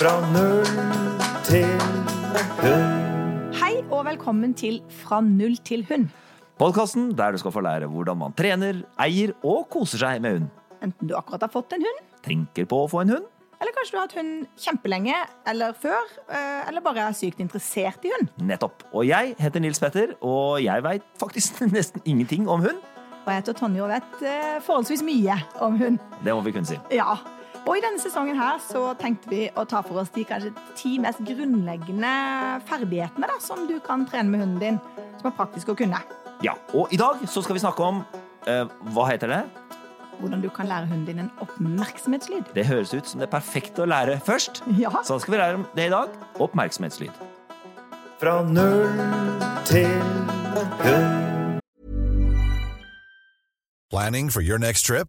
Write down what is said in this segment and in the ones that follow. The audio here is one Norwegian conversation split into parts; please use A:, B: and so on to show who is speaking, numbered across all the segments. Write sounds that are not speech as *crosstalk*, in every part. A: Fra null til hund.
B: Hei og velkommen til Fra null til hund.
A: Podkasten der du skal få lære hvordan man trener, eier og koser seg med hund.
B: Enten du akkurat har fått en hund,
A: Tenker på å få en hund?
B: eller kanskje du har hatt hund kjempelenge eller før, eh, eller bare er sykt interessert i hund.
A: Nettopp. Og jeg heter Nils Petter, og jeg veit faktisk *laughs* nesten ingenting om hund.
B: Og jeg heter Tonje og vet eh, forholdsvis mye om hund.
A: Det må vi kunne si.
B: Ja. Og i denne sesongen her så tenkte vi å ta for oss de kanskje ti mest grunnleggende ferdighetene da, som du kan trene med hunden din, som er praktisk å kunne.
A: Ja, Og i dag så skal vi snakke om eh, Hva heter det?
B: Hvordan du kan lære hunden din en oppmerksomhetslyd.
A: Det høres ut som det perfekte å lære først.
B: Ja.
A: Så da skal vi lære om det i dag. Oppmerksomhetslyd. Fra null til hund.
C: Planning for your next trip?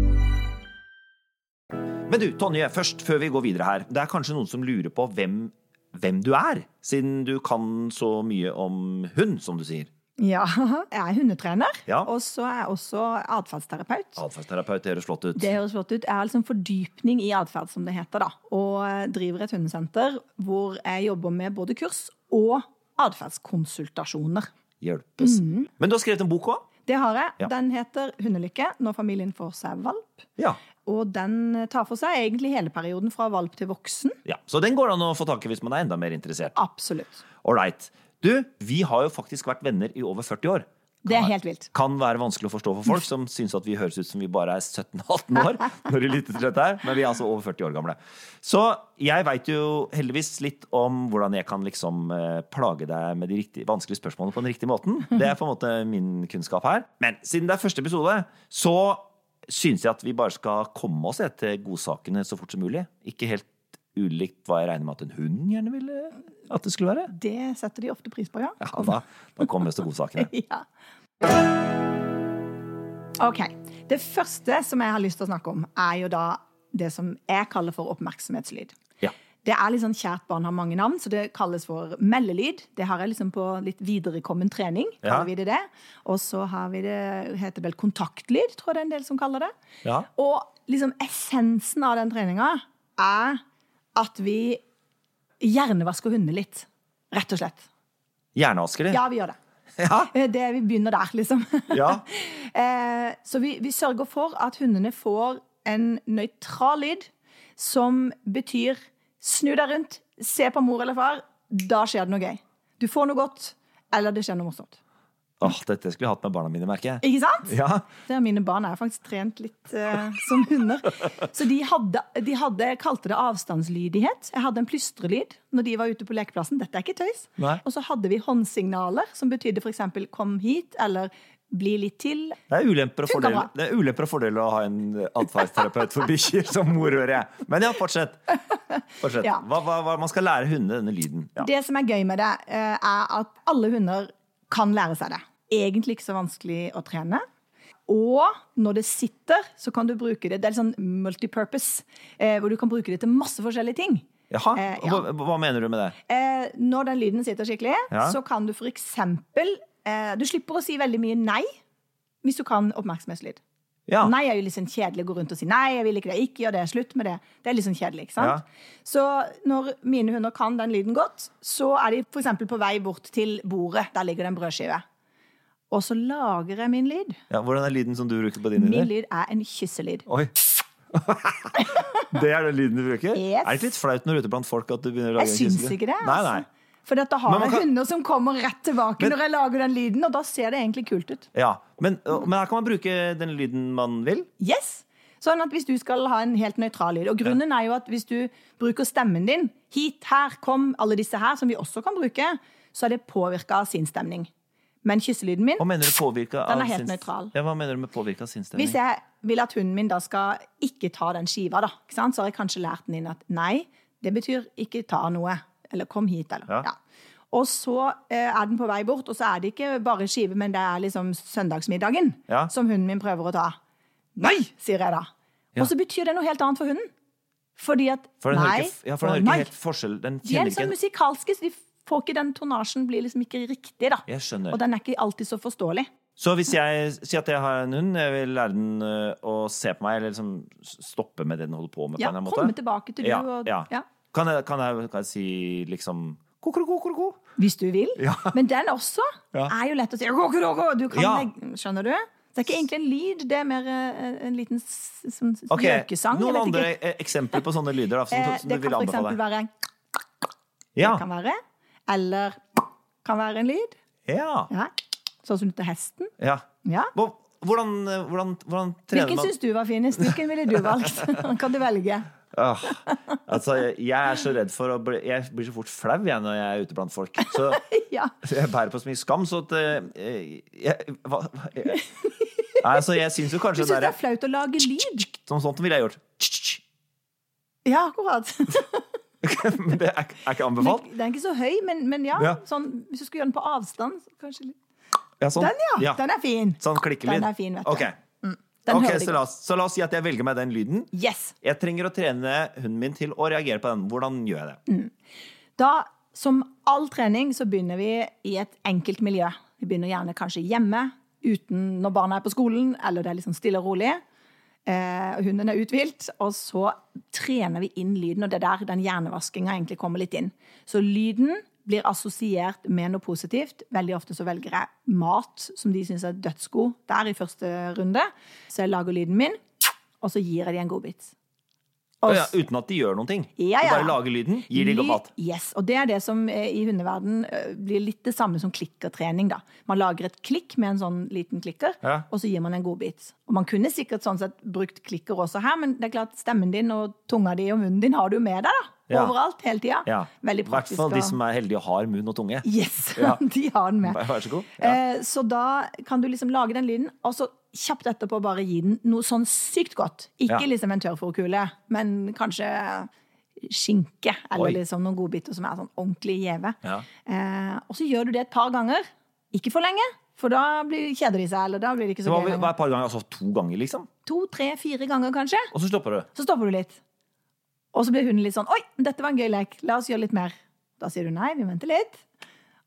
A: Men du, Tonje, først før vi går videre her. Det er kanskje noen som lurer på hvem, hvem du er, siden du kan så mye om hund, som du sier.
B: Ja, *laughs* jeg er hundetrener,
A: Ja.
B: og så er jeg også atferdsterapeut.
A: Atferdsterapeut, det høres flott ut.
B: Det høres flott ut. Jeg har liksom fordypning i atferd, som det heter, da. Og eh, driver et hundesenter hvor jeg jobber med både kurs og atferdskonsultasjoner.
A: Hjelpes.
B: Mm.
A: Men du har skrevet en bok òg?
B: Det har jeg.
A: Ja.
B: Den heter Hundelykke når familien får seg valp.
A: Ja.
B: Og den tar for seg egentlig hele perioden fra valp til voksen.
A: ja. Så den går det an å få tak i hvis man er enda mer interessert.
B: Absolutt.
A: Ålreit. Du, vi har jo faktisk vært venner i over 40 år.
B: Det er helt vilt.
A: Kan være vanskelig å forstå for folk som syns at vi høres ut som vi bare er 17-18 år når de lytter til dette her, men vi er altså over 40 år gamle. Så jeg veit jo heldigvis litt om hvordan jeg kan liksom eh, plage deg med de riktige, vanskelige spørsmålene på den riktige måten. Det er på en måte min kunnskap her. Men siden det er første episode, så syns jeg at vi bare skal komme oss eh, til godsakene så fort som mulig. Ikke helt ulikt hva jeg regner med at en hund gjerne ville at det skulle være.
B: Det setter de ofte pris på, ja.
A: Ja, da, da kommer vi oss til godsakene.
B: *laughs* ja. OK. Det første som jeg har lyst til å snakke om, er jo da det som jeg kaller for oppmerksomhetslyd.
A: Ja.
B: Det er litt sånn Kjært barn har mange navn, så det kalles for meldelyd. Det har jeg liksom på litt viderekommen trening.
A: Ja.
B: kaller vi det det. Og så har vi det heter vel kontaktlyd, tror jeg det er en del som kaller det.
A: Ja.
B: Og liksom essensen av den treninga er at vi hjernevasker hundene litt. Rett og slett.
A: Hjernevasker, det.
B: Ja, vi gjør det.
A: Ja.
B: Eh, *laughs* Det, vi begynner der, liksom.
A: Ja.
B: Eh, Så vi, vi sørger for at hundene får en nøytral lyd som betyr snu deg rundt, se på mor eller far, da skjer det noe gøy. Du får noe godt, eller det skjer noe morsomt.
A: Åh, dette skulle jeg hatt med barna mine, merker jeg.
B: Ikke sant?
A: Ja.
B: Det er mine barn er faktisk trent litt eh, som hunder. Så de hadde, de hadde jeg kalte det avstandslydighet. Jeg hadde en plystrelyd når de var ute på lekeplassen. Dette er ikke tøys.
A: Nei.
B: Og så hadde vi håndsignaler som betydde f.eks. kom hit, eller bli litt til.
A: Det er ulemper og
B: Funker
A: fordeler,
B: bra.
A: det er ulemper og fordeler å ha en atferdsterapeut for bikkjer som mor, hører jeg. Men ja, fortsett. fortsett.
B: Ja.
A: Hva, hva, hva, man skal lære hundene denne lyden. Ja.
B: Det som er gøy med det, eh, er at alle hunder kan lære seg det. Egentlig ikke så vanskelig å trene. Og når det sitter, så kan du bruke det. Det er litt sånn multipurpose, eh, hvor du kan bruke det til masse forskjellige ting.
A: Jaha,
B: Eh, ja.
A: hva, hva mener du med det?
B: Eh, når den lyden sitter skikkelig,
A: Ja.
B: så kan du for eksempel eh, Du slipper å si veldig mye nei hvis du kan oppmerksomhetslyd.
A: Ja.
B: Nei er jo litt sånn kjedelig å gå rundt og si nei, jeg vil ikke det, ikke gjør det, slutt med det. Det er litt sånn kjedelig, ikke sant? Så når mine hunder kan den lyden godt, så er de for eksempel på vei bort til bordet. Der ligger det en brødskive. Og så lager jeg min lyd.
A: Ja, hvordan er lyden som du bruker på dine
B: Min
A: hunder?
B: lyd er en kysselyd.
A: Oi. det er den lyden du bruker?
B: Yes.
A: Er det ikke litt flaut når du er ute blant folk at du begynner å lage
B: Jeg
A: en
B: syns
A: kysselyde?
B: ikke det. Altså.
A: Nei, nei.
B: For da
A: Men
B: har
A: man
B: jeg
A: kan-
B: hunder som kommer rett tilbake
A: Men-
B: når jeg lager den lyden, og da ser det egentlig kult ut.
A: Ja. Men, men her kan man bruke den lyden man vil.
B: Yes. Sånn at hvis du skal ha en helt nøytral lyd Og grunnen er jo at hvis du bruker stemmen din Hit, her, kom, alle disse her, som vi også kan bruke, så er det påvirka av sinnsstemning. Men kysselyden min
A: Hva mener du påvirka av
B: Den er helt
A: sin-
B: nøytral.
A: Ja, hva mener du med påvirka av sinnsstemning?
B: Hvis jeg vil at hunden min da skal ikke ta den skiva, da, ikke sant? så har jeg kanskje lært den inn at nei, Det betyr ikke ta noe, eller kom hit, eller.
A: Ja.
B: Ja. Og så eh, er den på vei bort, og så er det ikke bare skive, men det er liksom søndagsmiddagen
A: Ja.
B: som hunden min prøver å ta. Nei, sier jeg da. Og så betyr det noe helt annet for hunden. Fordi at
A: For den
B: nei
A: hører ikke, ja, for
B: og
A: den
B: nei.
A: hører ikke helt forskjell. Den
B: De
A: kjenner
B: er litt sånn
A: ikke en
B: musikalske, så de får ikke den tonasjen blir liksom ikke riktig, da.
A: Jeg skjønner.
B: Og den er ikke alltid så forståelig.
A: Så hvis jeg sier at jeg har en hund, jeg vil lære den ø, å se på meg, eller liksom stoppe med det den holder på med, på en
B: Ja,
A: eller annen måte.
B: komme tilbake til du
A: Ja,
B: og
A: ja.
B: ja.
A: Kan, jeg, kan, jeg, kan jeg si liksom ko-ko-ko-ko-ko?
B: Hvis du vil.
A: Ja.
B: Men den også
A: Ja.
B: er jo lett å si «Rokoroko», du kan
A: Ja.
B: legge, Skjønner du? Det er ikke egentlig en lyd, det er mer eh, en liten s- sånn
A: Ok,
B: gjøkesang. jeg
A: Noen
B: vet
A: andre
B: ikke.
A: eh, eksempler på sånne lyder da, som,
B: Eh,
A: som du
B: det kan
A: vil
B: for
A: anbefale?
B: eksempel være en
A: Ja.
B: kan være, eller kan være en lyd.
A: ja.
B: Ja. Sånn som til hesten.
A: ja.
B: Ja.
A: Hvor- Hvordan, eh, hvordan, hvordan trener
B: Hvilken
A: man
B: syns du var finest? Hvilken ville
A: *laughs*
B: du valgt? kan du velge?
A: Åh, altså, jeg er så redd for å bli Jeg blir så fort flau jeg når jeg er ute blant folk. Så
B: Ja.
A: *laughs* jeg bærer på så mye skam, så at eh, jeg, hva, hva-
B: *laughs*
A: jeg, Nei, altså, jeg syns jo
B: Du
A: kanskje
B: syns
A: det
B: det
A: derre
B: er flaut å lage lyd?
A: Sånn sånt ville jeg gjort. *laughs*
B: Ja, akkurat. *laughs*
A: Men det er, er ikke anbefalt.
B: Den er ikke så høy, men, men ja.
A: Ja.
B: Sånn, hvis du skulle gjøre den på avstand, så kanskje litt
A: Ja, sånn.
B: Den, ja. Den er fin.
A: Sånn klikkelyd.
B: Den er fin, vet du.
A: Ok,
B: Den
A: Ok,
B: hører de
A: så, la oss, så la oss si at jeg velger meg den lyden.
B: godt. Yes.
A: Jeg trenger å trene hunden min til å reagere på den. Hvordan gjør jeg
B: Mm.
A: det?
B: Da, som all trening, så begynner vi i et enkelt miljø. Vi begynner gjerne kanskje hjemme, uten når barna er på skolen, eller det er litt sånn stille og rolig. Eh, og hunden er uthvilt, og så trener vi inn lyden, og det er der den hjernevaskinga egentlig kommer litt inn. Så lyden blir assosiert med noe positivt. Veldig ofte så velger jeg mat som de syns er dødsgod der i første runde. Så jeg lager lyden min, og så gir jeg dem en godbit.
A: Å
B: Og
A: Ja, uten at de gjør noen ting.
B: Ja,
A: Du
B: ja.
A: bare lager lyden, gir de
B: Lyd-
A: god mat.
B: Yes, og det er det som eh, i hundeverden eh, blir litt det samme som klikkertrening. da. Man lager et klikk med en sånn liten klikker,
A: Ja.
B: og så gir man en godbit. Og man kunne sikkert sånn sett brukt klikker også her, men det er klart stemmen din og tunga di og munnen din har du med deg da.
A: Ja.
B: overalt hele tida.
A: Ja.
B: Veldig praktisk.
A: I hvert fall de
B: og-
A: som er heldige og har munn og tunge.
B: Yes,
A: Ja.
B: *laughs* de har den med.
A: Vær vær så god. Ja.
B: Eh, Så da kan du liksom lage den lyden, og så kjapt etterpå bare gi den noe sånn sykt godt. Ikke
A: Ja.
B: liksom en tørrfòrkule, men kanskje skinke, eller
A: Oi.
B: liksom noen godbiter som er sånn ordentlig gjeve.
A: Ja.
B: Eh, og så gjør du det et par ganger. Ikke for lenge, for da blir, kjeder de seg, eller da blir det ikke
A: Så
B: så
A: hva,
B: gøy
A: hva
B: lenger.
A: er et par ganger? Altså to ganger, liksom?
B: To, tre, fire ganger kanskje.
A: Og så stopper du.
B: Så stopper du litt. Og så blir hunden litt sånn Oi, dette var en gøy lek. La oss gjøre litt mer. Da sier du nei, vi venter litt.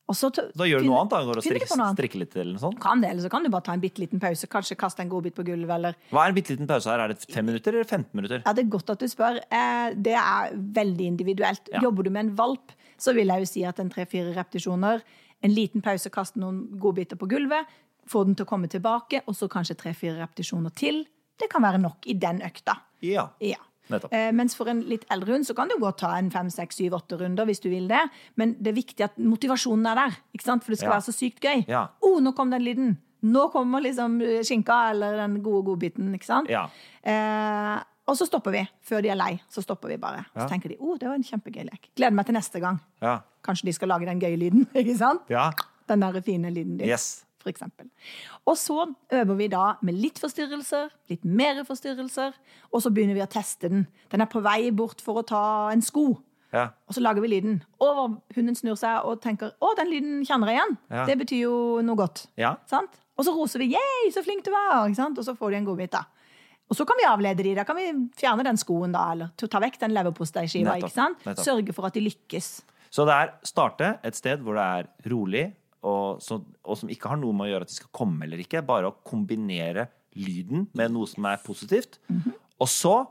B: Og så t-
A: Da gjør du noe annet, da. Går og
B: finner du
A: strikker,
B: på noe annet.
A: strikker litt eller noe sånt.
B: kan det, eller så kan du bare ta en bitte liten pause. Kanskje kaste en godbit på gulvet, eller
A: Hva er en bitte liten pause her? Er det fem minutter eller 15 minutter?
B: Ja, det er godt at du spør. Eh, Det er veldig individuelt.
A: Ja.
B: Jobber du med en valp, så vil jeg jo si at en tre-fire repetisjoner, en liten pause, kaste noen godbiter på gulvet, få den til å komme tilbake, og så kanskje tre-fire repetisjoner til. Det kan være nok i den økta.
A: Ja.
B: Ja.
A: Nettopp.
B: Eh, mens for en litt eldre hund så kan du godt ta en fem, seks, syv, åtte runder hvis du vil det. Men det er viktig at motivasjonen er der, ikke sant? for det skal
A: Ja.
B: være så sykt gøy.
A: Ja.
B: Oh, nå kom den lyden! Nå kommer liksom eh, skinka eller den gode godbiten, ikke sant?
A: Ja.
B: Eh, og så stopper vi. Før de er lei, så stopper vi bare. Så tenker de oh, det var en kjempegøy lek. Gleder meg til neste gang.
A: Ja.
B: Kanskje de skal lage den gøye lyden, *laughs* ikke sant?
A: Ja.
B: Den der fine lyden din
A: Yes.
B: for eksempel. Og så øver vi da med litt forstyrrelser, litt mer forstyrrelser, og så begynner vi å teste den. Den er på vei bort for å ta en sko,
A: Ja.
B: og så lager vi lyden. Og hunden snur seg og tenker 'Å, den lyden kjenner jeg igjen'.
A: Ja.
B: Det betyr jo noe godt.
A: Ja.
B: Sant? Og så roser vi 'Yay, så flink du var', ikke sant? og så får de en godbit, da. Og så kan vi avlede de. Da kan vi fjerne den skoen, da, eller ta- ta vekk den leverposteiskiva.
A: Nettopp,
B: ikke sant?
A: nettopp.
B: Sørge for at de lykkes.
A: Så det er starte et sted hvor det er rolig, og, så, og som ikke har noe med å gjøre at de skal komme eller ikke. Bare å kombinere lyden med noe som er positivt. Og så,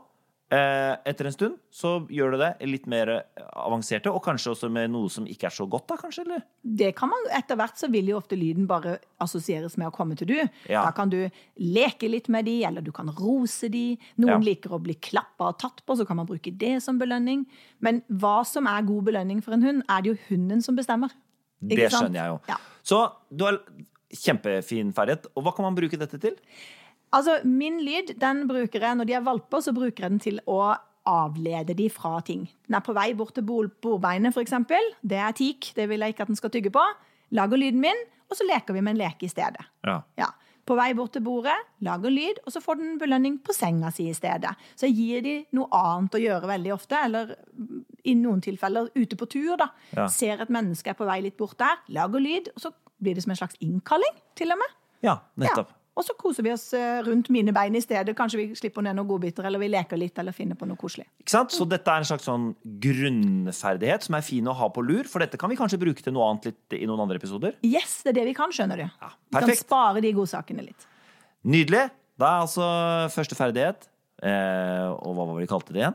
A: eh, etter en stund, så gjør du det litt mer avanserte, og kanskje også med noe som ikke er så godt, da, kanskje? Eller?
B: det kan man, Etter hvert så vil jo ofte lyden bare assosieres med å komme til du.
A: Ja.
B: Da kan du leke litt med de, eller du kan rose de. Noen
A: Ja.
B: liker å bli klappa og tatt på, så kan man bruke det som belønning. Men hva som er god belønning for en hund, er det jo hunden som bestemmer.
A: Det skjønner jeg jo.
B: Ja.
A: Så du har kjempefin ferdighet. Og hva kan man bruke dette til?
B: Altså, min lyd, den bruker jeg når de er valper, så bruker jeg den til å avlede de fra ting. Den er på vei bort til bol- bordbeinet, for eksempel. Det er teak, det vil jeg ikke at den skal tygge på. Lager lyden min, og så leker vi med en leke i stedet.
A: Ja.
B: Ja. På vei bort til bordet, lager lyd, og så får den belønning på senga si i stedet. Så jeg gir de noe annet å gjøre veldig ofte, eller i noen tilfeller ute på tur, da,
A: Ja.
B: ser et menneske er på vei litt bort der, lager lyd, og så blir det som en slags innkalling, til og med.
A: Ja, nettopp.
B: Ja. Og så koser vi oss eh, rundt mine bein i stedet. Kanskje vi slipper ned noen godbiter, eller vi leker litt, eller finner på noe koselig.
A: Ikke sant? Så dette er en slags sånn grunnferdighet som er fin å ha på lur, for dette kan vi kanskje bruke til noe annet litt i noen andre episoder.
B: Yes, det er det vi kan, skjønner du. vi kan
A: perfekt.
B: spare de godsakene litt.
A: Nydelig. Da er altså første ferdighet eh, Og hva var det vi kalte det igjen?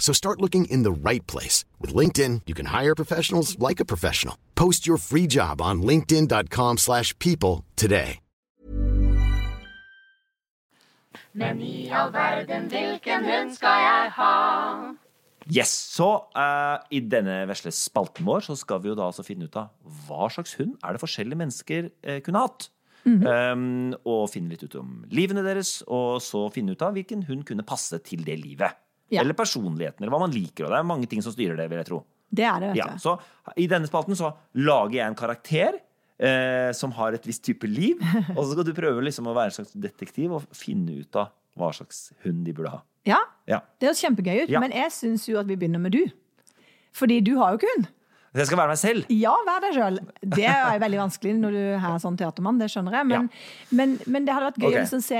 D: So start looking in the right place. With LinkedIn, you can hire professionals like a professional. Post your free job on linkedin.com/people slash people today.
A: Yes, Så eh, i denne vesle spalten vår så skal vi jo da altså finne ut av hva slags hund er det forskjellige mennesker eh, kunne hatt.
B: Mhm.
A: um, og finne litt ut om livene deres, og så finne ut av hvilken hund kunne passe til det livet.
B: Ja.
A: Eller personligheten, eller hva man liker. Og det er mange ting som styrer det, vil jeg tro.
B: Det er det, vet
A: Ja,
B: du.
A: så I denne spalten så lager jeg en karakter eh, som har et visst type
B: *laughs*
A: liv. Og så skal du prøve liksom å være en slags detektiv og finne ut av hva slags hund de burde ha.
B: Ja,
A: Ja.
B: det høres kjempegøy ut,
A: Ja.
B: men jeg syns jo at vi begynner med du. Fordi du har jo ikke hund.
A: Så jeg skal være meg selv.
B: Ja, vær deg sjøl. Det er veldig vanskelig når du er sånn teatermann, det skjønner jeg. Men, men, men det hadde vært gøy
A: Ok.
B: å liksom se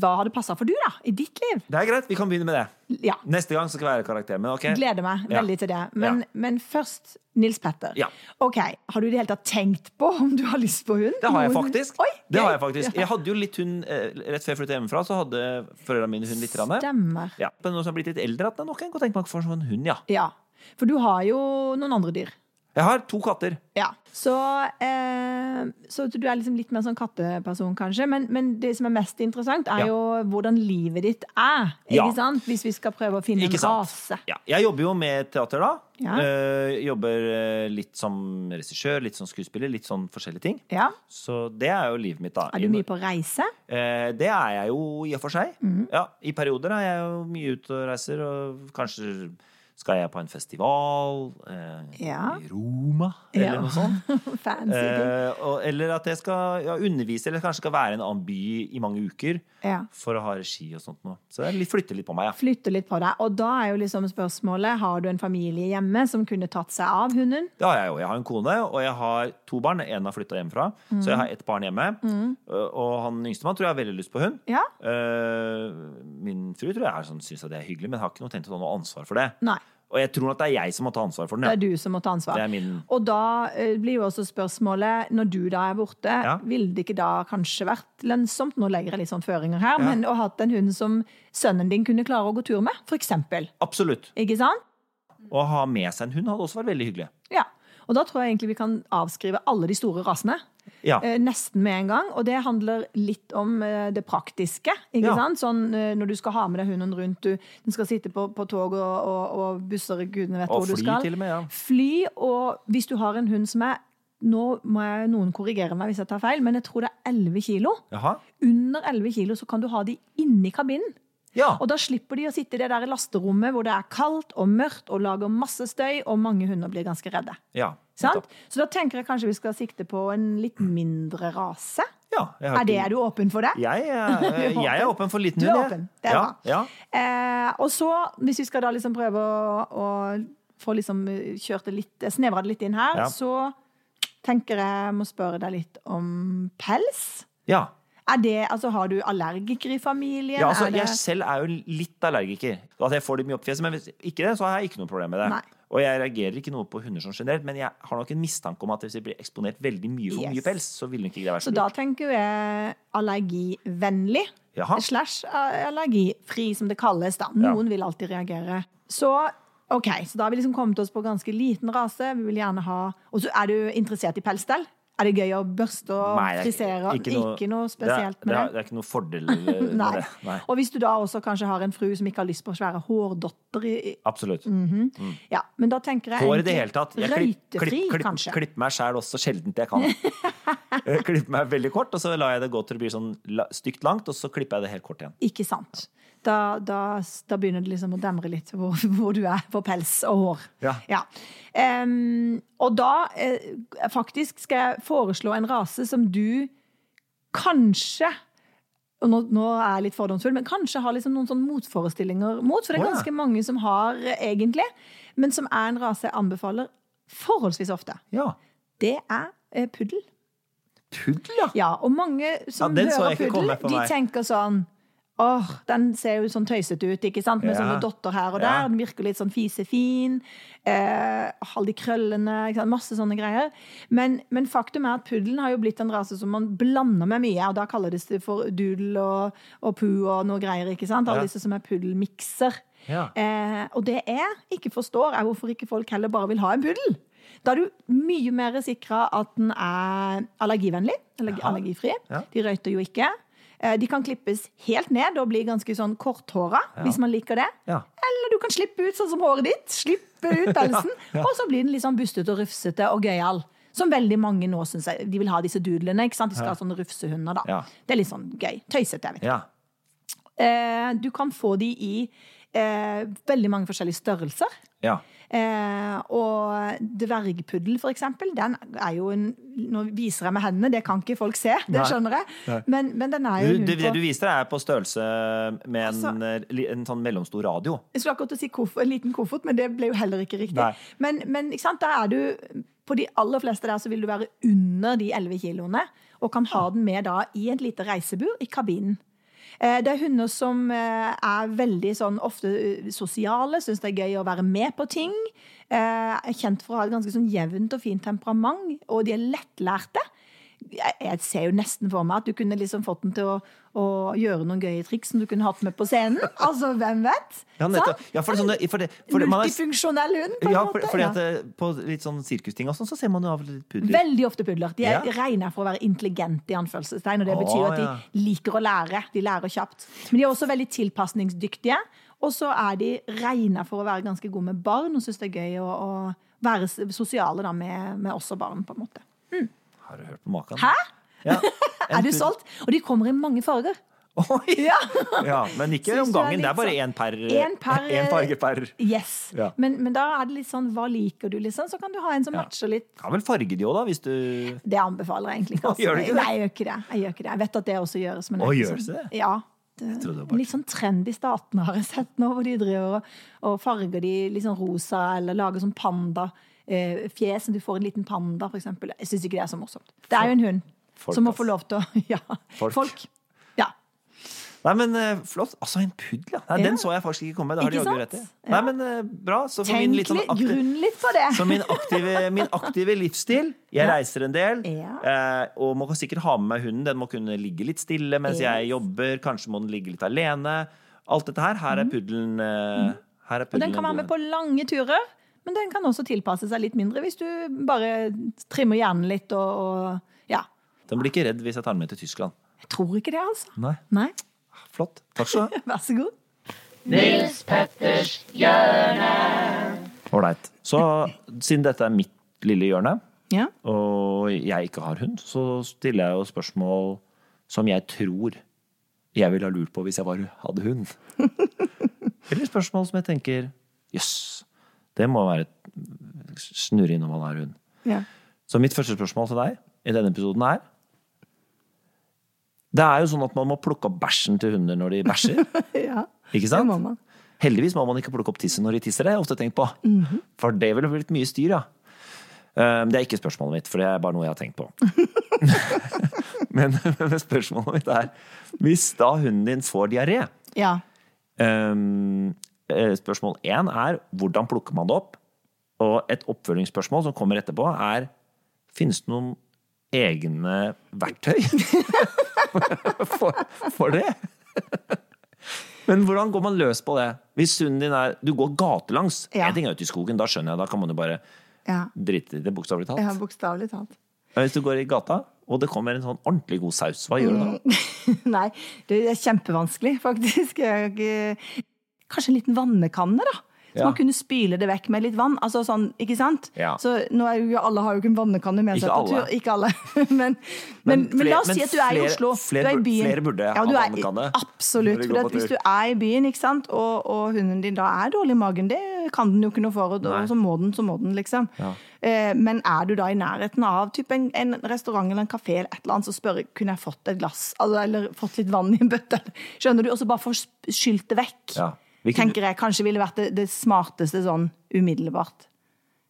B: hva hadde passa for du, da? I ditt liv.
A: Det er greit, vi kan begynne med det.
B: Ja.
A: Neste gang så skal jeg være karakter. Men ok.
B: Gleder meg
A: Ja.
B: veldig til det. Men,
A: Ja.
B: men først Nils Petter.
A: Ja.
B: Ok, Har du i det hele tatt tenkt på om du har lyst på hund?
A: Det har jeg
B: Noen-
A: faktisk.
B: Oi,
A: det har
B: gøy.
A: jeg faktisk. Jeg hadde jo litt hund eh, rett før jeg flyttet hjemmefra, så hadde foreldrene mine hund litt. grann.
B: Stemmer.
A: Ja, men nå som jeg har blitt litt eldre, at det er nok en god tenke meg for en sånn hund, ja.
B: Ja. For du har jo noen andre dyr.
A: Jeg har to katter.
B: Ja. Så, eh, så du er liksom litt mer sånn katteperson, kanskje. Men, men det som er mest interessant, er
A: Ja.
B: jo hvordan livet ditt er. Ikke
A: Ja.
B: sant? Hvis vi skal prøve å finne
A: Ikke
B: en
A: sant?
B: rase.
A: Ja. Jeg jobber jo med teater, da.
B: Ja.
A: Eh, jobber eh, litt som regissør, litt som skuespiller, litt sånn forskjellige ting.
B: Ja.
A: Så det er jo livet mitt, da.
B: Er du mye på reise? *laughs*
A: Eh, det er jeg jo i og for seg.
B: Mm.
A: Ja, I perioder er jeg jo mye ute og reiser, og kanskje skal jeg på en festival eh,
B: Ja.
A: i Roma, eller
B: Ja.
A: noe
B: *laughs*
A: sånt.
B: Fancy ting.
A: Eh, og, eller at jeg skal ja, undervise, eller kanskje skal være i en annen by i mange uker
B: Ja.
A: for å ha regi og sånt noe. Så jeg flytter litt på meg, ja.
B: Flytter litt på deg. Og da er jo liksom spørsmålet har du en familie hjemme som kunne tatt seg av hunden.
A: Det har jeg jo. Jeg har en kone, og jeg har to barn. En har flytta hjemmefra,
B: Mm.
A: så jeg har ett barn hjemme. Og og han yngstemann tror jeg har veldig lyst på hund.
B: Ja.
A: Eh, Min fru tror jeg er sånn, syns at det er hyggelig, men har ikke noe tenkt å ta noe ansvar for det.
B: Nei.
A: Og jeg tror at det er jeg som må ta ansvar for den.
B: Det
A: Ja.
B: er du som må ta ansvar.
A: Det er min-
B: Og da eh, blir jo også spørsmålet, når du da er borte, ville det ikke da kanskje vært lønnsomt, nå legger jeg litt sånn føringer her, men å ha hatt en hund som sønnen din kunne klare å gå tur med, for eksempel.
A: Absolutt.
B: Ikke sant?
A: Å ha med seg en hund hadde også vært veldig hyggelig.
B: Ja. Og da tror jeg egentlig vi kan avskrive alle de store rasene.
A: Ja.
B: Eh, nesten med en gang. Og det handler litt om eh, det praktiske. ikke
A: Ja.
B: sant? Sånn eh, når du skal ha med deg hunden rundt, du, den skal sitte på, på tog og, og, og busser, gudene vet
A: Og
B: hvor du
A: fly
B: skal.
A: til og med, ja.
B: Fly, og hvis du har en hund som er Nå må jeg, noen korrigere meg hvis jeg tar feil, men jeg tror det er 11 kilo.
A: Jaha.
B: Under 11 kilo så kan du ha de inni kabinen.
A: Ja.
B: Og da slipper de å sitte i det der lasterommet hvor det er kaldt og mørkt og lager masse støy, og mange hunder blir ganske redde.
A: ja.
B: Sant?
A: nettopp.
B: Så da tenker jeg kanskje vi skal sikte på en litt mindre rase.
A: Ja, jeg har
B: Er, det,
A: ikke-
B: er du åpen for det?
A: Jeg,
B: *laughs*
A: er- jeg er åpen for liten
B: Du
A: hund,
B: er
A: jeg.
B: åpen. Det er
A: ja,
B: bra.
A: ja.
B: Eh, og så, hvis vi skal da liksom prøve å, å få liksom kjørt det litt, snevra det litt inn her,
A: Ja.
B: så tenker jeg må spørre deg litt om pels.
A: ja.
B: Er det, altså Har du allergikere i familien?
A: Ja, altså,
B: Er det-
A: jeg selv er jo litt allergiker. At jeg får det mye opp i fjeset. Men hvis ikke det, så har jeg ikke noe problem med det.
B: Nei.
A: Og jeg reagerer ikke noe på hunder sånn generelt, men jeg har nok en mistanke om at hvis jeg blir eksponert veldig mye for
B: Yes.
A: mye pels, så ville nok ikke det være
B: Så
A: så
B: da
A: lurt.
B: tenker jeg allergivennlig.
A: Jaha.
B: Slash allergifri, som det kalles. da.
A: Ja.
B: Noen vil alltid reagere. Så OK, så da har vi liksom kommet oss på ganske liten rase. Vi vil gjerne ha Og så er du interessert i pelsstell? Er det gøy å børste og
A: Nei, det er
B: frisere? Ikke noe, spesielt
A: det er, det.
B: med
A: Er, det er ikke noe fordel
B: *laughs*
A: eh, med
B: Nei.
A: det. Nei.
B: Og hvis du da også kanskje har en fru som ikke har lyst på svære hårdotter i, i-
A: Absolutt.
B: Mm. Ja, men da tenker jeg
A: Hår i
B: egentlig
A: det hele tatt. Jeg klipp, klipp,
B: Røytefri,
A: klipp,
B: kanskje.
A: klipper meg sjæl også sjeldent
B: *laughs*
A: jeg kan. Eh, klipper meg veldig kort, og så lar jeg det gå til det blir sånn la- stygt langt, og så klipper jeg det helt kort igjen.
B: Ikke sant. Da, da, da begynner det liksom å demre litt hvor, *laughs* hvor du er på pels og hår.
A: Ja.
B: Em, og da eh, faktisk skal jeg foreslå en rase som du kanskje og nå, nå er jeg litt fordomsfull, men kanskje har liksom noen sånne motforestillinger mot. For det er
A: Å, ja.
B: ganske mange som har, eh, egentlig. Men som er en rase jeg anbefaler forholdsvis ofte.
A: Ja.
B: Det er eh, puddel.
A: Puddel, ja!
B: Ja, og mange som
A: Ja, den så
B: hører
A: jeg ikke
B: puddel,
A: komme på
B: de
A: meg.
B: tenker sånn Åh, den ser jo sånn tøysete ut, ikke sant? Med
A: Ja.
B: sånne dotter her og der.
A: Ja.
B: Den virker litt sånn fisefin. Eh, alle de krøllene, ikke sant? masse sånne greier. Men, men faktum er at puddelen har jo blitt en rase som man blander med mye. Og da kaller det seg for doodle og, og poo og noe greier, ikke sant? Alle
A: Ja.
B: disse som er puddelmikser.
A: Ja.
B: Eh, og det jeg ikke forstår, er hvorfor ikke folk heller bare vil ha en puddel. Da er du mye mer sikra at den er allergivennlig, eller
A: Jaha.
B: allergifri.
A: Ja.
B: De røyter jo ikke. Eh, De kan klippes helt ned og bli ganske sånn korthåra, hvis man liker det.
A: Ja.
B: Eller du kan slippe ut sånn som håret ditt. Slippe ut
A: *laughs*
B: pelsen. Og så blir den litt sånn bustete og rufsete og gøyal. Som veldig mange nå syns er- De vil ha disse doodlene. ikke sant? De skal ha sånne rufsehunder, da.
A: Ja.
B: Det er litt sånn gøy. Tøysete. jeg vet ikke.
A: ja.
B: Eh, Du kan få de i eh, veldig mange forskjellige størrelser.
A: ja.
B: Eh, og dvergpuddel, for eksempel, den er jo en Nå viser jeg med hendene, det kan ikke folk se, det
A: Nei.
B: skjønner jeg. Men, men den er jo
A: Du,
B: lun
A: det, det du
B: på Altså-
A: viser, er på størrelse med en, eh, en sånn mellomstor radio.
B: Jeg skulle akkurat til å si koff, en liten koffert, men det ble jo heller ikke riktig.
A: Nei.
B: Men, men ikke sant, der er du På de aller fleste der så vil du være under de 11 kiloene, og kan ha den med da i et lite reisebur i kabinen. Eh, Det er hunder som eh, er veldig sånn ofte eh, sosiale, syns det er gøy å være med på ting. eh, Er kjent for å ha et ganske sånn jevnt og fint temperament, og de er lettlærte. Jeg jeg ser jo nesten for meg at du kunne liksom fått den til å, å gjøre noen gøye triks som du kunne hatt med på scenen. Altså, hvem vet?
A: Ja, nettopp.
B: Sant?
A: Ja, for det, er sånn det- for det, for det, man er,
B: Multifunksjonell hund, på en
A: ja, for,
B: måte.
A: fordi
B: ja.
A: at det, på litt sånn sirkusting og sånn, så ser man jo av og til litt pudler.
B: Veldig ofte pudler. De er
A: Ja.
B: regner for å være intelligente, i anførselstegn. Og det
A: Å,
B: betyr jo at
A: ja.
B: de liker å lære. De lærer kjapt. Men de er også veldig tilpasningsdyktige. Og så er de regna for å være ganske gode med barn, og syns det er gøy å, å være s- sosiale da, med, med også barn, på en måte.
A: Har du hørt på maken?
B: Hæ?
A: Ja. En
B: Er du
A: pudel.
B: solgt? Og de kommer i mange farger.
A: Oi!
B: Ja.
A: *laughs* Ja, men ikke
B: Synes
A: om
B: du er
A: gangen. Det
B: litt
A: er bare
B: sånn-
A: én per,
B: En eh, per-
A: *laughs* en farge per
B: Yes.
A: Ja.
B: Men, men da er det litt sånn hva liker du, liksom? Så kan du ha en som
A: Ja.
B: matcher litt
A: Kan vel farge de òg, da, hvis du
B: Det anbefaler jeg egentlig ikke. Altså.
A: *laughs* Gjør du ikke det?
B: Nei, jeg gjør ikke det. Jeg gjør ikke det. Jeg vet at det også gjøres. Men jeg
A: Å,
B: er ikke
A: gjøres
B: sånn-
A: det?
B: Ja. Det,
A: trodde det var
B: litt sånn trend i statene har jeg sett nå, hvor de driver og, og farger de litt sånn rosa, eller lager sånn pandafjes. Du får en liten panda, for eksempel. Jeg syns ikke det er så morsomt. Det er jo en hund
A: Folk,
B: som må
A: ass.
B: få lov til å *laughs* Ja.
A: Folk.
B: Ja.
A: Nei, men eh, flott. Altså, en puddel, ja. Nei, Den så jeg faktisk ikke komme. Det har de
B: Ikke
A: jaggu
B: sant?
A: rett i.
B: Ja.
A: Nei, men eh, bra. Så for min
B: Tenk
A: litt sånn
B: litt,
A: aktiv,
B: grunn litt på det.
A: så min aktive, min aktive livsstil
B: *laughs*
A: Jeg reiser en del,
B: Ja.
A: eh, og må sikkert ha med meg hunden. Den må kunne ligge litt stille mens jeg jobber. Kanskje må den ligge litt alene. Alt dette her. Her er puddelen eh, her er
B: Mm. Og den
A: puddelen
B: kan være med
A: god.
B: på lange turer, men den kan også tilpasse seg litt mindre hvis du bare trimmer hjernen litt og, og Ja.
A: Den blir ikke redd hvis jeg tar den med til Tyskland.
B: Jeg tror ikke det, altså.
A: Nei,
B: Nei.
A: Flott. Takk skal du ha.
B: *laughs* Vær så god.
A: Ålreit. Så siden dette er mitt lille hjørne
B: Ja.
A: og jeg ikke har hund, så stiller jeg jo spørsmål som jeg tror jeg ville ha lurt på hvis jeg var, hadde hund. Eller spørsmål som jeg tenker jøss, det må være et snurre når man har hund.
B: *laughs*
A: Så mitt første spørsmål til deg i denne episoden er Det er jo sånn at man må plukke opp bæsjen til hunder når de bæsjer. Ikke sant?
B: må man.
A: Heldigvis må man ikke plukke opp tissen når de tisser, det har jeg ofte tenkt på.
B: Mhm.
A: For det ville blitt mye styr, ja. Um, Det er ikke spørsmålet mitt, for det er bare noe jeg har
B: *laughs*
A: tenkt på. *laughs* men, men spørsmålet mitt er Hvis da hunden din får diaré
B: Ja.
A: um, eh, Spørsmål én er hvordan plukker man det opp? Og et oppfølgingsspørsmål som kommer etterpå, er Finnes det noen egne verktøy *laughs* for, for det? Men hvordan går man løs på det? Hvis hunden din er Du går gatelangs.
B: Ja.
A: En ting er ute i skogen, da skjønner jeg. Da kan man jo bare
B: Ja.
A: drite i det, bokstavelig talt.
B: bokstavelig talt. *laughs*
A: Men Hvis du går i gata, og det kommer en sånn ordentlig god saus, hva gjør du da?
B: Mm. Nei, det er kjempevanskelig, faktisk. Jeg, eh, kanskje en liten vannekanne, da. Så
A: Ja.
B: man kunne spyle det vekk med litt vann. Altså sånn, ikke sant?
A: Ja.
B: Så nå er jo, alle har jo ikke en vannekanne med seg
A: Ikke
B: på
A: alle.
B: tur. Ikke alle. *laughs* men, men, men,
A: flere-
B: la oss
A: men
B: si at du er i
A: flere-
B: Oslo.
A: flere
B: du er i
A: bur-
B: byen.
A: flere burde
B: ja,
A: ha
B: du er,
A: vannekanne når
B: Absolutt.
A: de
B: For
A: går
B: at
A: på
B: hvis
A: tur.
B: du er i byen, ikke sant, og, og hunden din da er dårlig i magen, det kan den jo ikke noe for, og, og så må den, så må den, liksom. Eh, men er du da i nærheten av typ en, en restaurant eller en kafé eller et eller annet, så spør jeg, kunne jeg fått et glass, eller, eller fått litt vann i en bøtte? Skjønner du? Og så bare få skylt det vekk.
A: Ja. Hvilken-
B: Tenker jeg kanskje ville vært det, det smarteste sånn umiddelbart.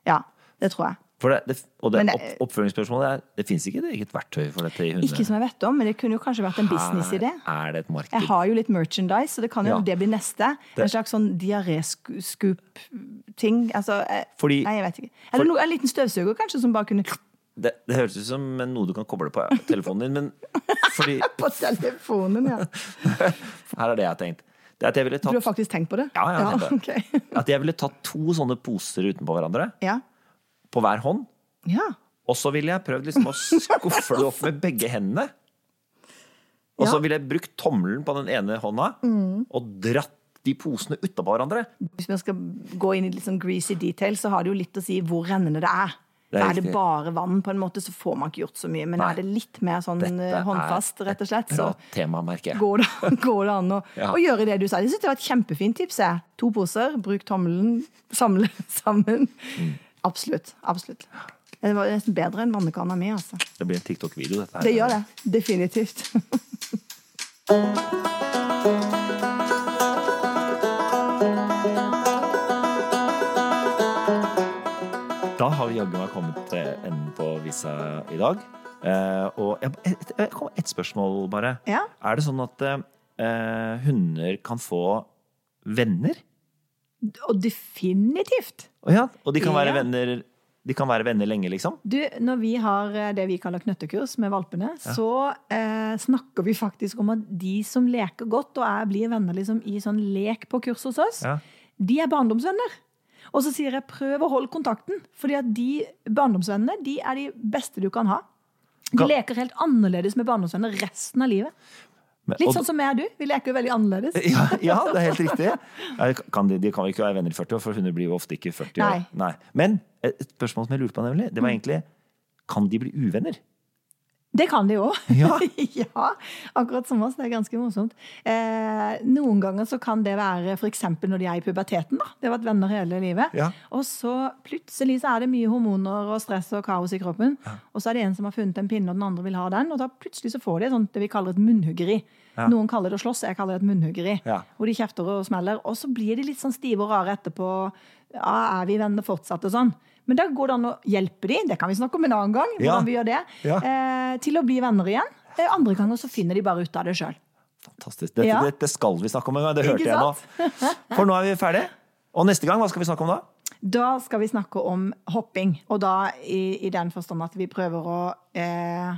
B: Ja, det tror jeg.
A: For det, det, og det,
B: Men det-
A: opp, oppfølgingsspørsmålet er det fins ikke et eget verktøy for dette i hundene.
B: Ikke som jeg vet om, men det kunne jo kanskje vært en businessidé.
A: Er det et marked?
B: Jeg har jo litt merchandise, så det kan jo
A: Ja.
B: det bli neste.
A: Det-
B: En slags sånn diaréscoop-ting. Altså eh,
A: Fordi-
B: Nei, jeg vet ikke. Eller noe- en liten støvsuger, kanskje, som
A: *laughs*
B: bare kunne
A: Det, det høres ut som noe du kan koble på telefonen din,
B: *laughs*
A: men fordi
B: På telefonen, ja.
A: Her er det jeg har tenkt. Det er at jeg ville
B: Du har
A: tatt,
B: faktisk tenkt på det?
A: ja, jeg har tenkt det.
B: ok. *laughs*
A: at jeg ville tatt to sånne poser utenpå hverandre,
B: Ja.
A: på hver hånd,
B: ja.
A: og så ville jeg prøvd liksom å skuffe det opp med begge hendene. Og så
B: Ja. Mm.
A: ville jeg brukt tommelen på den ene hånda og dratt de posene utapå hverandre.
B: Hvis man skal gå inn i litt sånn greasy detail, så har det jo litt å si hvor rennende det er.
A: Det er
B: er, det
A: riktig.
B: bare vann, på en måte, så får man ikke gjort så mye. Men
A: Nei.
B: er det litt mer sånn
A: Dette
B: eh, håndfast,
A: er
B: rett og slett,
A: et
B: så
A: bra tema, merker jeg.
B: går det, *laughs* går det an å,
A: Ja.
B: å gjøre det du sa. Jeg synes det var et kjempefint tips. Jeg. To poser, bruk tommelen, samle *laughs* sammen. Absolutt. Absolutt. Det var nesten bedre enn vannekanna mi, altså.
A: Det blir en TikTok-video, dette her.
B: Det gjør det. Definitivt. *laughs*
A: Da har vi jaggu meg kommet til enden på visa i dag. Eh, og jeg, jeg, jeg kom med ett spørsmål, bare.
B: Ja.
A: Er det sånn at eh, hunder kan få venner?
B: Og definitivt.
A: Å ja, og de kan være
B: Ja.
A: venner De kan være venner lenge, liksom?
B: Du, når vi har eh, det vi kaller knøttekurs med valpene, så eh, snakker vi faktisk om at de som leker godt og er, blir venner liksom, i sånn lek på kurs hos oss,
A: Ja.
B: de er barndomsvenner. Og så sier jeg prøv å holde kontakten, fordi at de barndomsvennene de er de beste du kan ha. De
A: Kan-
B: leker helt annerledes med barndomsvenner resten av livet.
A: Men-
B: Litt
A: og-
B: sånn som jeg og du. Vi leker jo veldig annerledes.
A: *laughs* ja, ja, det er helt riktig. Eh, Kan de, de kan vel ikke være venner i 40 år, for hunder blir jo ofte ikke 40 år.
B: Nei. Mm.
A: Men et et spørsmål som jeg lurte på, nemlig, det var egentlig Kan de bli uvenner?
B: Det kan de òg.
A: *laughs* Ja.
B: *laughs* ja, akkurat som oss. Det er ganske morsomt. Eh, noen ganger så kan det være f.eks. når de er i puberteten. da. De har vært venner hele livet.
A: Ja.
B: Og så plutselig så er det mye hormoner og stress og kaos i kroppen. Og så er det en som har funnet en pinne, og den andre vil ha den. Og da plutselig så får de et sånt, det vi kaller et munnhuggeri. Noen kaller det å slåss, jeg kaller det et munnhuggeri.
A: Ja.
B: Hvor de kjefter og smeller. Og så blir de litt sånn stive og rare etterpå. Ja, er vi venner fortsatt og sånn? Men da går det an å hjelpe de, det kan vi snakke om en annen gang. hvordan
A: Ja.
B: vi gjør det
A: Ja.
B: eh, til å bli venner igjen. Eh, Andre ganger så finner de bare ut av det sjøl.
A: Fantastisk. Dette,
B: Ja.
A: dette skal vi snakke om en gang. Det hørte
B: Ikke
A: jeg nå. For nå er vi ferdige. Og neste gang, hva skal vi snakke om da?
B: Da skal vi snakke om hopping, og da i, i den forstand at vi prøver å eh,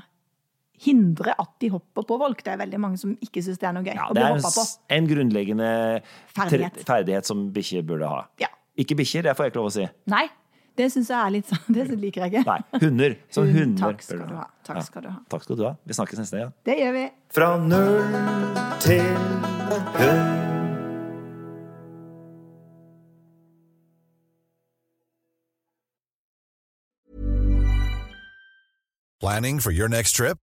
B: hindre at de hopper på volk. Det er veldig mange som ikke syns det er noe gøy å
A: det
B: bli
A: er en,
B: hoppa på.
A: s- en grunnleggende tre-
B: Ferdighet.
A: ferdighet som bikkjer burde ha.
B: Ja.
A: Ikke bikkjer, det får jeg ikke lov å si.
B: Nei, det syns jeg er litt sånn *laughs* Det liker jeg ikke.
A: Nei, hunder. Som
B: Hund,
A: hunder
B: takk skal
A: burde
B: du ha. Takk skal du ha.
A: Takk skal du ha. Vi snakkes neste gang.
B: Det gjør vi.
A: Fra null til hund.
C: Planning for your next trip?